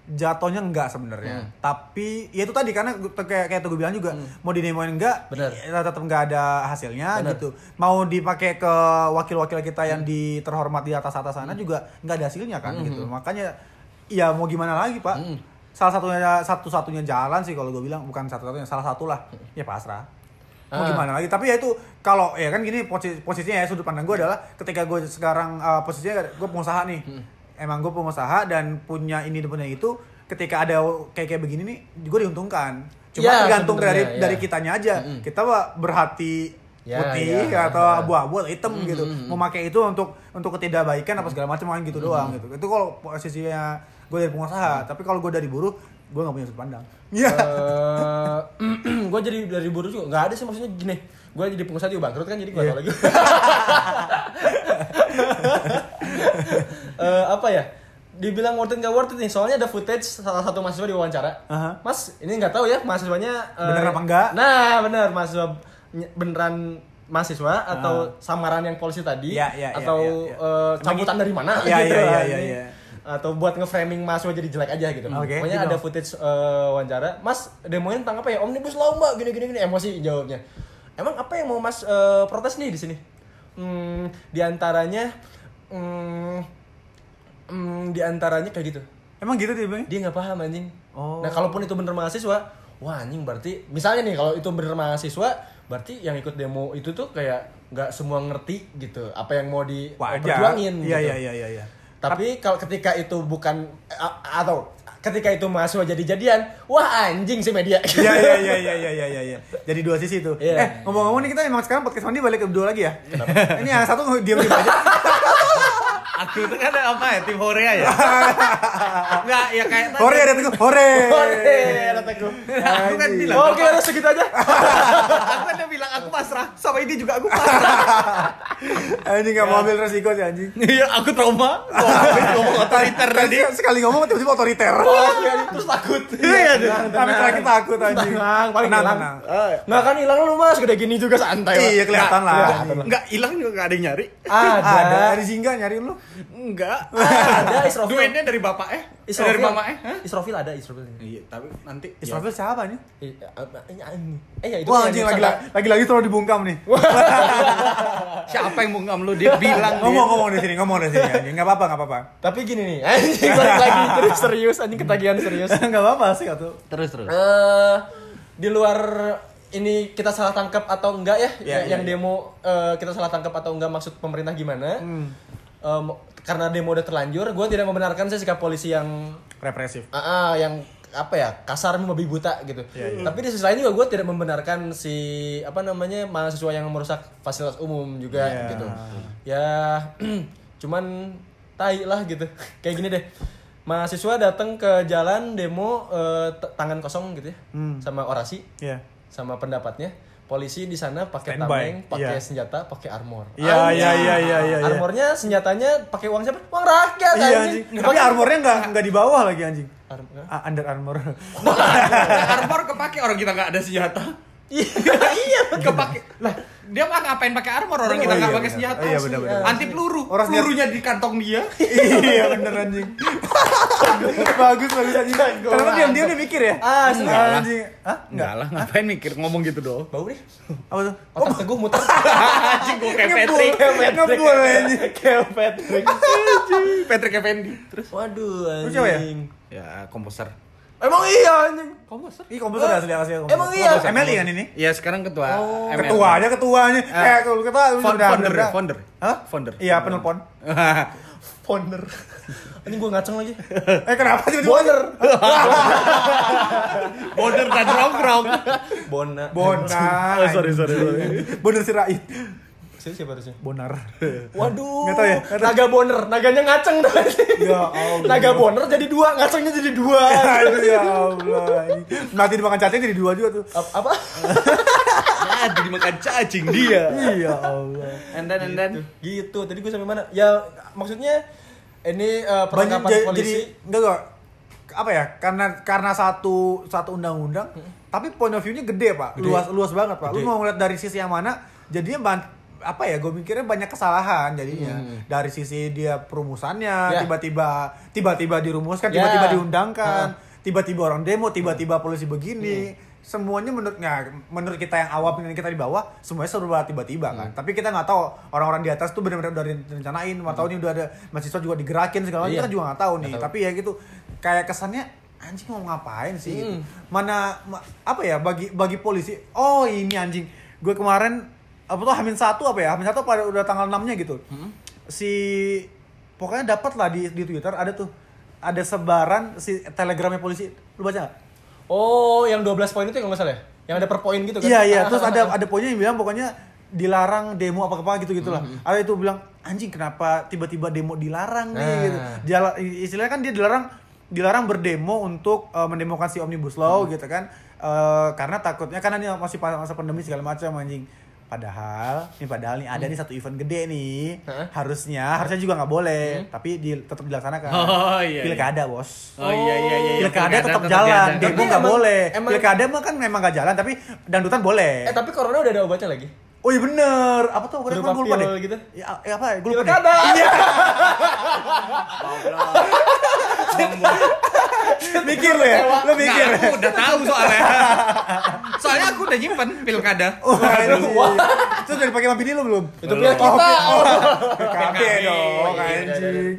jatuhnya enggak sebenarnya tapi ya itu tadi karena gua- kayak kayak gue bilang juga mau didemoin enggak
Bener.
ya tetap enggak ada hasilnya
Bener.
gitu mau dipakai ke wakil-wakil kita yang
Hmm. Hmm.
di terhormat di atas atas sana juga enggak ada hasilnya kan gitu makanya ya mau gimana lagi pak salah satunya satu-satunya jalan sih kalau gue bilang bukan satu-satunya salah satu lah ya pasrah mau
Hmm. Ah.
gimana lagi tapi ya itu kalau ya kan gini posi- posisinya ya sudut pandang gue adalah ketika gue sekarang eh, posisinya gue pengusaha nih
Hmm.
emang gue pengusaha dan punya ini dan punya itu ketika ada kayak kayak begini nih gue diuntungkan cuma
Ya,
tergantung dari
sebenarnya, ya.
dari kitanya aja kita berhati
Ya,
putih
ya,
atau
ya.
abu-abu atau hitam gitu memakai itu untuk untuk ketidakbaikan apa segala macam kan gitu doang gitu itu kalau posisinya gue dari pengusaha tapi kalau gue dari buruh gue nggak punya sudut pandang iya
gue Eh, jadi dari buruh juga nggak ada sih maksudnya gini gue jadi pengusaha juga bangkrut kan jadi
Iya.
gue tau lagi Eh, apa ya dibilang worth it nggak worth it nih soalnya ada footage salah satu mahasiswa diwawancara
Aha.
mas ini nggak tahu ya mahasiswanya eh,
Bener apa nggak?
nah bener mahasiswa ny- beneran mahasiswa atau samaran yang polisi tadi
Ya, ya, ya,
atau
ya, ya.
eh, camputan dari mana
Ya,
gitu
ya, ya,
ini.
ya, ya.
atau buat ngeframing mahasiswa jadi jelek aja gitu
Oke,
pokoknya
gitu.
ada footage eh, wawancara mas demonya tentang apa ya omnibus law mbak gini gini gini emosi jawabnya emang apa yang mau mas eh, protes nih di sini hmm, diantaranya hmm, hmm, diantaranya kayak gitu
emang gitu tiba
dia nggak paham anjing
Oh.
nah kalaupun itu bener mahasiswa wah anjing berarti misalnya nih kalau itu bener mahasiswa berarti yang ikut demo itu tuh kayak nggak semua ngerti gitu apa yang mau
wajar
diperjuangin gitu
iya iya iya iya iya
tapi kalau ketika itu bukan eh, a- atau ketika itu mahasiswa jadi jadian, wah anjing sih media.
Iya iya iya iya iya iya iya. Jadi dua sisi tuh.
Iya.
Eh, ngomong-ngomong nih kita emang sekarang podcast mandi balik ke dua lagi ya. Ini yang satu diam diam aja.
Aku itu kan apa ya, tim Korea ya? Enggak, ya kayak tadi.
Hore ada teguh. Hore.
Hore, kata gue.
Aku kan bilang,
Oke, udah segitu aja.
aku kan udah bilang aku pasrah. Sama ini juga aku pasrah.
Anjing nggak mau ambil resiko sih anjing.
Iya, aku trauma. Gua ngomong otoriter tadi.
Tadi sekali ngomong tiba-tiba otoriter.
Terus takut.
Iya, tenang,
Tapi terakhir takut anjing.
Tenang, paling
Tenang,
hilang.
tenang.
Nggak kan hilang lu mas, gede gini juga santai. Mas.
Iya kelihatan lah.
kelihatan lah.
Enggak hilang juga enggak ada yang nyari.
Ada.
Ada.
Dari Zingga nyariin lu.
Enggak.
Ada Isrofil.
Duitnya dari bapak eh?
Isrofil.
Dari mama eh? Hah?
Isrofil ada Isrofil.
Iya, tapi nanti
Israfil siapa nih?
Eh, eh, ya, itu yang
Wah anjing
di-
lagi-lagi lagi-lagi terlalu dibungkam nih.
siapa yang mau ngam lu dia bilang dia.
Ngomong-ngomong di sini, ngomong di sini anjing. Enggak apa-apa, enggak apa-apa.
Tapi gini nih, anjing balik lagi terus serius, anjing ketagihan serius.
Enggak apa-apa sih kata.
Terus terus.
eh di luar ini kita salah tangkap atau enggak ya
Ya,
yang-
ya,
yang
ya.
demo eh, kita salah tangkap atau enggak maksud pemerintah gimana
Hmm.
Em, karena demo udah terlanjur gue tidak membenarkan sih sikap polisi yang
Represif.
ah, ah, yang apa ya kasar membabi buta gitu
Iya,
tapi di sisi lain juga gue tidak membenarkan si apa namanya mahasiswa yang merusak fasilitas umum juga
Ya.
gitu ya cuman tai lah gitu kayak gini deh mahasiswa datang ke jalan demo eh, t- tangan kosong gitu ya
Hmm.
sama orasi
Iya.
sama pendapatnya polisi di sana pakai
Standby.
tameng pakai
Iya.
senjata pakai armor
Iya,
Anjing.
iya, iya, iya, iya, iya.
armornya senjatanya pakai uang siapa uang rakyat
Iya anjing. Tapi
Pakai-
armornya enggak enggak di bawah lagi anjing.
Arm-
Ah, Under armor.
Nah, armor kepake orang kita nggak ada senjata.
Iya, iya.
Kepake. Lah, dia mah ngapain pakai armor orang
Oh,
kita nggak
iya,
pakai
benar.
senjata.
Oh, iya, benar, benar.
Anti peluru.
Orang senjata-
Pelurunya di kantong dia.
Iya bener anjing. bagus bagus anjing. Ternyata diam-diam dia mikir ya.
Ah,
enggak lah.
anjing. Hah?
Enggak lah, ngapain mikir ngomong gitu doh.
Bau nih.
Apa tuh?
Otak teguh muter.
Anjing gua kayak Patrick.
Ngebul anjing.
Kayak Patrick.
Patrick Effendi. Terus
Waduh,
Lu cewek ya?
anjing.
ya komposer.
Emang iya anjing.
Komposer.
Ih, komputer udah asli asli.
Emang iya.
Emily kan ini?
Iya, sekarang ketua ML.
Ketuanya ketuanya. Eh, kalau ketua lu
Founder,
udah
founder,
udah-
founder.
Hah?
Founder.
Iya, penelpon.
Founder. Anjing gua ngaceng lagi.
Eh, kenapa tiba-tiba?
Boner.
Border dan rong-rong.
Bona.
Bonar.
Oh, sorry, sorry, sorry.
Bonar Sirait.
Eh, Siapa siapa harusnya?
Bonar.
Waduh.
Nggak tahu ya?
Naga boner. Naganya ngaceng tadi.
Ya Allah.
Naga boner jadi dua, ngacengnya jadi dua.
Aduh, ya Allah. anjing. Nanti dimakan cacing jadi dua juga tuh.
Ap- Apa?
Jadi dimakan cacing dia.
Iya Allah.
And then and then
Gitu. Tadi gua sampai mana? Ya maksudnya ini eh,
banyak
perlengkapan
jadi,
polisi.
jadi enggak enggak apa ya karena karena satu satu undang-undang tapi point of view-nya gede pak luas luas banget pak
Hmm.
lu
Gede.
mau ngeliat dari sisi yang mana jadinya ban- apa ya gue mikirnya banyak kesalahan jadinya dari sisi dia perumusannya
Hmm. Ya.
tiba-tiba tiba-tiba dirumuskan
Ya.
tiba-tiba diundangkan tiba-tiba orang demo tiba-tiba polisi begini semuanya menurut nah, menurut kita yang awam dan kita di bawah semuanya serba tiba-tiba kan tapi kita nggak tahu orang-orang di atas tuh benar-benar udah direncanain atau ini udah ada mahasiswa juga digerakin segala macam
Iya.
kita juga nggak tahu nih
Nggak tahu.
tapi ya gitu kayak kesannya anjing mau ngapain sih gitu. mana ma- apa ya bagi bagi polisi oh ini anjing gue kemarin apa tuh hamin satu apa ya hamin satu pada udah tanggal 6 nya gitu si pokoknya dapat lah di di twitter ada tuh ada sebaran si telegramnya polisi lu baca nggak?
Oh, yang 12 poin itu ya kalau nggak salah ya? Yang ada per poin gitu kan?
Iya iya, terus ada ada poinnya yang bilang pokoknya dilarang demo apa apa gitu gitulah. Ada itu bilang anjing kenapa tiba-tiba demo dilarang nih
Nah.
gitu. Jala- istilahnya kan dia dilarang dilarang berdemo untuk eh, mendemokan si omnibus law gitu kan. Eh, karena takutnya karena ini masih pa- masa pandemi segala macam anjing. Padahal, ini padahal nih ada nih satu event gede nih,
Hah?
harusnya harusnya juga nggak boleh, tapi di, tetap dilaksanakan.
Oh, iya, iya.
Pilkada bos
Oh, iya iya iya. iya.
pilkada tetap jalan,
jalan.
demo
Tapi
nggak
emang-
boleh.
emang-
pilkada mah kan memang nggak jalan, tapi dangdutan
Eh,
boleh.
tapi corona udah ada obatnya lagi.
oh iya bener, apa tuh? Gue
Berupa
gue lupa
pil
deh.
gitu?
Ya, eh, apa? ya? Gue lupa
Pilkada!
deh.
Iya!
mikir lo ya, lo mikir.
Nah.
Nggak, aku udah tahu soalnya. soalnya aku udah nyimpen pilkada.
Wah, iya, iya. Terus udah dipakai sama bini lo belum?
Itu pil kita!
oh, PKB dong,
Iya, iya,
anjing.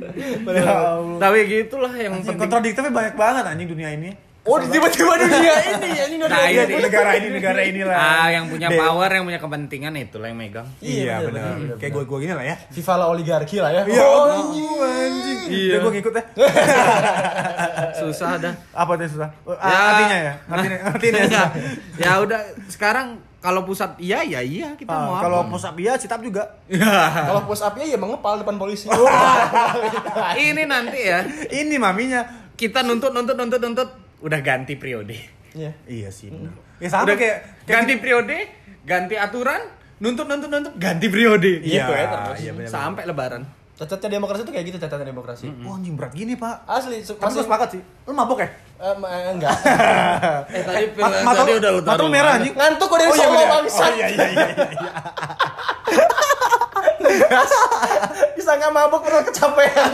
Ya Allah.
Tapi gitulah yang
Anjing,
penting.
kontradiktifnya banyak banget anjing dunia ini.
Oh, tiba-tiba dunia ini, ini udah
Nah,
Iya,
ini.
negara ini, negara inilah.
Ah, yang
Deh.
punya power, yang punya kepentingan itulah yang megang.
Iya, bener. Kayak gue-gue gini lah ya.
FIFA lah oligarki lah ya.
Iya,
Oh,
oh, anjing.
Iya.
Iya. Gue ngikut deh.
Susah dah.
Apa tuh susah? Ah, Artinya ya? Artinya, artinya
ya.
susah.
ya udah sekarang kalau pusat iya ya iya kita
Ah,
mau
kalau
apa?
pusat dia citap juga.
Kalau push up-nya ya mengepal depan polisi.
Oh.
Wah.
ini nanti ya
Ini maminya.
kita nuntut nuntut nuntut nuntut udah ganti periode.
Iya.
Iya sih. bener. Ya sama
udah
kayak gitu. kayak
ganti periode, ganti aturan, nuntut nuntut nuntut ganti periode
Iya,
gitu ya terus
iya, benar-benar.
sampai lebaran.
Cacatnya demokrasi itu kayak gitu, cacatnya demokrasi.
Wah, anjing berat gini, Pak.
Asli, su-
Kamu gue sepakat sih. Lu mabok ya?
Eh, ma- eh, enggak.
Eh tadi
Mat- mata lu mata lu merah anjing.
Ngantuk udah dari
iya,
Solo,
bener.
bangsat.
Oh, iya, iya, iya, iya.
Disangka mabuk perut kecapean.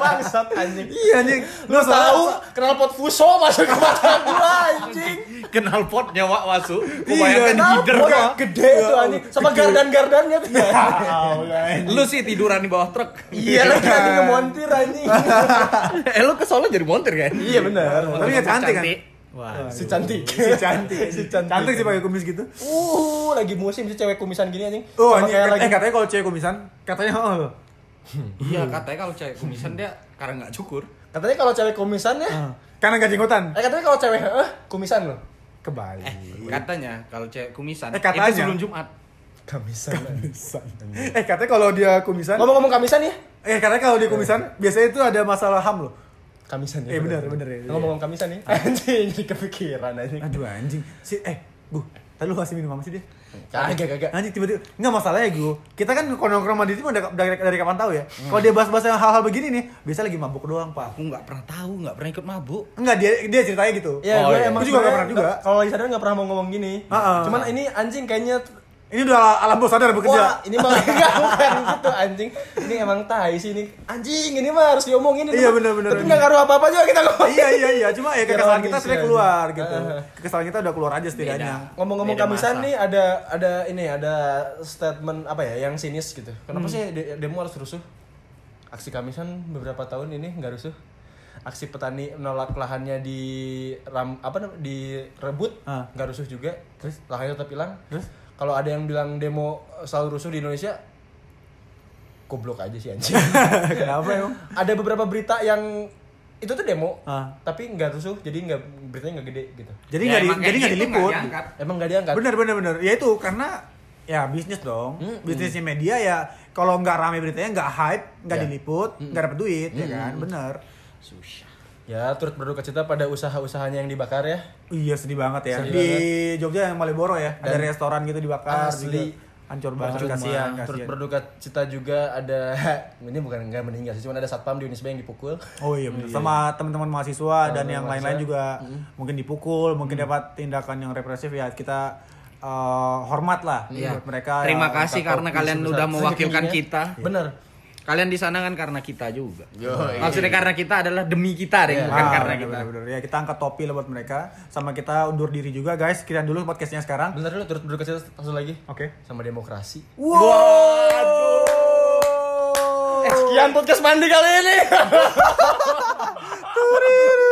Bangsat anjing.
Iya, anjing.
Lu
Lu
tahu
tahu?
kenal pot fuso masuk ke mata gua anjing.
Kenal pot nyawa wasu.
Iya,
Kebayangkan
kenapa?
hider
Pot
gua.
Iya. Gede tuh anjing. Sama gardan-gardannya tuh.
Lu sih tiduran di bawah truk.
Iya lagi anjing ngemontir anjing.
eh lu ke Solo jadi montir kan?
Iya benar.
Tapi ya cantik kan?
Wah.
Si cantik.
Si cantik.
Si cantik.
Cantik sih pakai kumis gitu.
Uh, lagi musim si cewek kumisan gini anjing.
Oh,
Sama
ini
kayak lagi
eh katanya kalau cewek kumisan, katanya oh. loh.
Iya katanya kalau cewek kumisan dia karena nggak cukur.
katanya kalau cewek kumisan ya.
Ah. Karena gak jenggotan.
Eh katanya kalau cewek eh kumisan loh.
Kebalik.
Eh, Katanya kalau cewek kumisan
Iya. Eh, katanya.
itu sebelum Jumat.
Kamisan.
Eh katanya kalau dia kumisan,
Ngomong-ngomong kamisan ya?
eh katanya kalau dia kumisan, biasanya itu ada masalah ham loh.
Kamisan ya. Ah.
Eh, benar, benar, ya.
Ngomong-ngomong kamisan nih. Anjing jadi kepikiran anjing.
Aduh anjing. Si eh, Bu, tadi lu kasih minum apa sih dia?
Kagak kagak.
Anjing tiba-tiba enggak masalahnya gue. Kita kan nongkrong sama dia itu udah dari, dari kapan tahu ya.
Hmm.
Kalau dia bahas-bahas yang hal-hal begini nih, biasa lagi mabuk doang, Pak.
Aku nggak pernah tahu, nggak pernah ikut mabuk.
Enggak, dia dia ceritanya gitu.
Ya,
Oh,
gue
iya.
emang
Gue juga nggak pernah
sebenarnya
juga.
nggak- Kalau lagi sadar nggak pernah mau ngomong gini.
Heeh.
Cuman ini anjing kayaknya
Ini udah ala- alam bawah sadar bekerja.
Wah, ini mah enggak bukan gitu anjing. Ini emang tai sih ini. Anjing, ini mah harus diomongin ini.
Iya,
Tapi-
benar-benar.
Tapi enggak ngaruh apa-apa juga kita ngomong.
iya iya iya, cuma ya kekesalan kita
Ironis,
sudah
ya.
keluar gitu.
Heeh.
Kekesalan kita udah keluar aja setidaknya.
Ngomong-ngomong
Beda
kamisan
masa.
nih ada ada ini ada statement apa ya yang sinis gitu. Kenapa
Hmm.
sih de- demo harus rusuh? Aksi kamisan beberapa tahun ini nggak rusuh. Aksi petani menolak lahannya di ram, apa namanya direbut
Ah.
nggak rusuh juga.
Terus?
lahannya tetap hilang.
Terus?
Kalau ada yang bilang demo selalu rusuh di Indonesia, goblok aja sih anjing.
Kenapa emang?
ada beberapa berita yang itu tuh demo,
Ah.
tapi nggak rusuh, jadi nggak beritanya nggak gede gitu.
Jadi
Ya,
nggak di,
emang
jadi
kayak
nggak
gitu,
diliput.
nggak diangkat.
Emang nggak diangkat.
Bener bener bener. Ya itu karena ya bisnis dong.
Hmm,
Bisnisnya media ya kalau nggak rame beritanya nggak hype, nggak
Ya.
diliput, nggak dapet duit,
Hmm,
ya kan? Bener.
Susah.
Ya, turut berduka cita pada usaha-usahanya yang dibakar ya.
Iya sedih banget ya.
Sedih
di Jogja yang Maleboro ya, ada restoran gitu dibakar
Asli.
juga. Hancur banget
Hancur
kasihan,
banget. Turut
kasihan.
berduka cita juga ada ini bukan nggak meninggal sih, cuma ada satpam di Unisba yang dipukul.
Oh iya bener. Sama teman-teman mahasiswa dan yang lain-lain juga mungkin dipukul, mungkin dapat tindakan yang represif ya kita eh, hormat lah
Iya.
buat mereka.
Terima
yang-
kasih karena kalian
Sebesar-
udah mewakilkan
setingginya.
kita.
Bener.
Kalian di sana kan karena kita juga. Maksudnya karena kita adalah demi kita, deh, bukan
Ah,
kan karena
bener,
kita.
bener, bener. ya kita angkat topi lah buat mereka sama kita undur diri juga guys sekian dulu podcastnya sekarang
Bentar dulu turut berduka cita satu lagi
oke
sama demokrasi.
waduh Eh,
Sekian podcast mandi kali ini.
Tururu.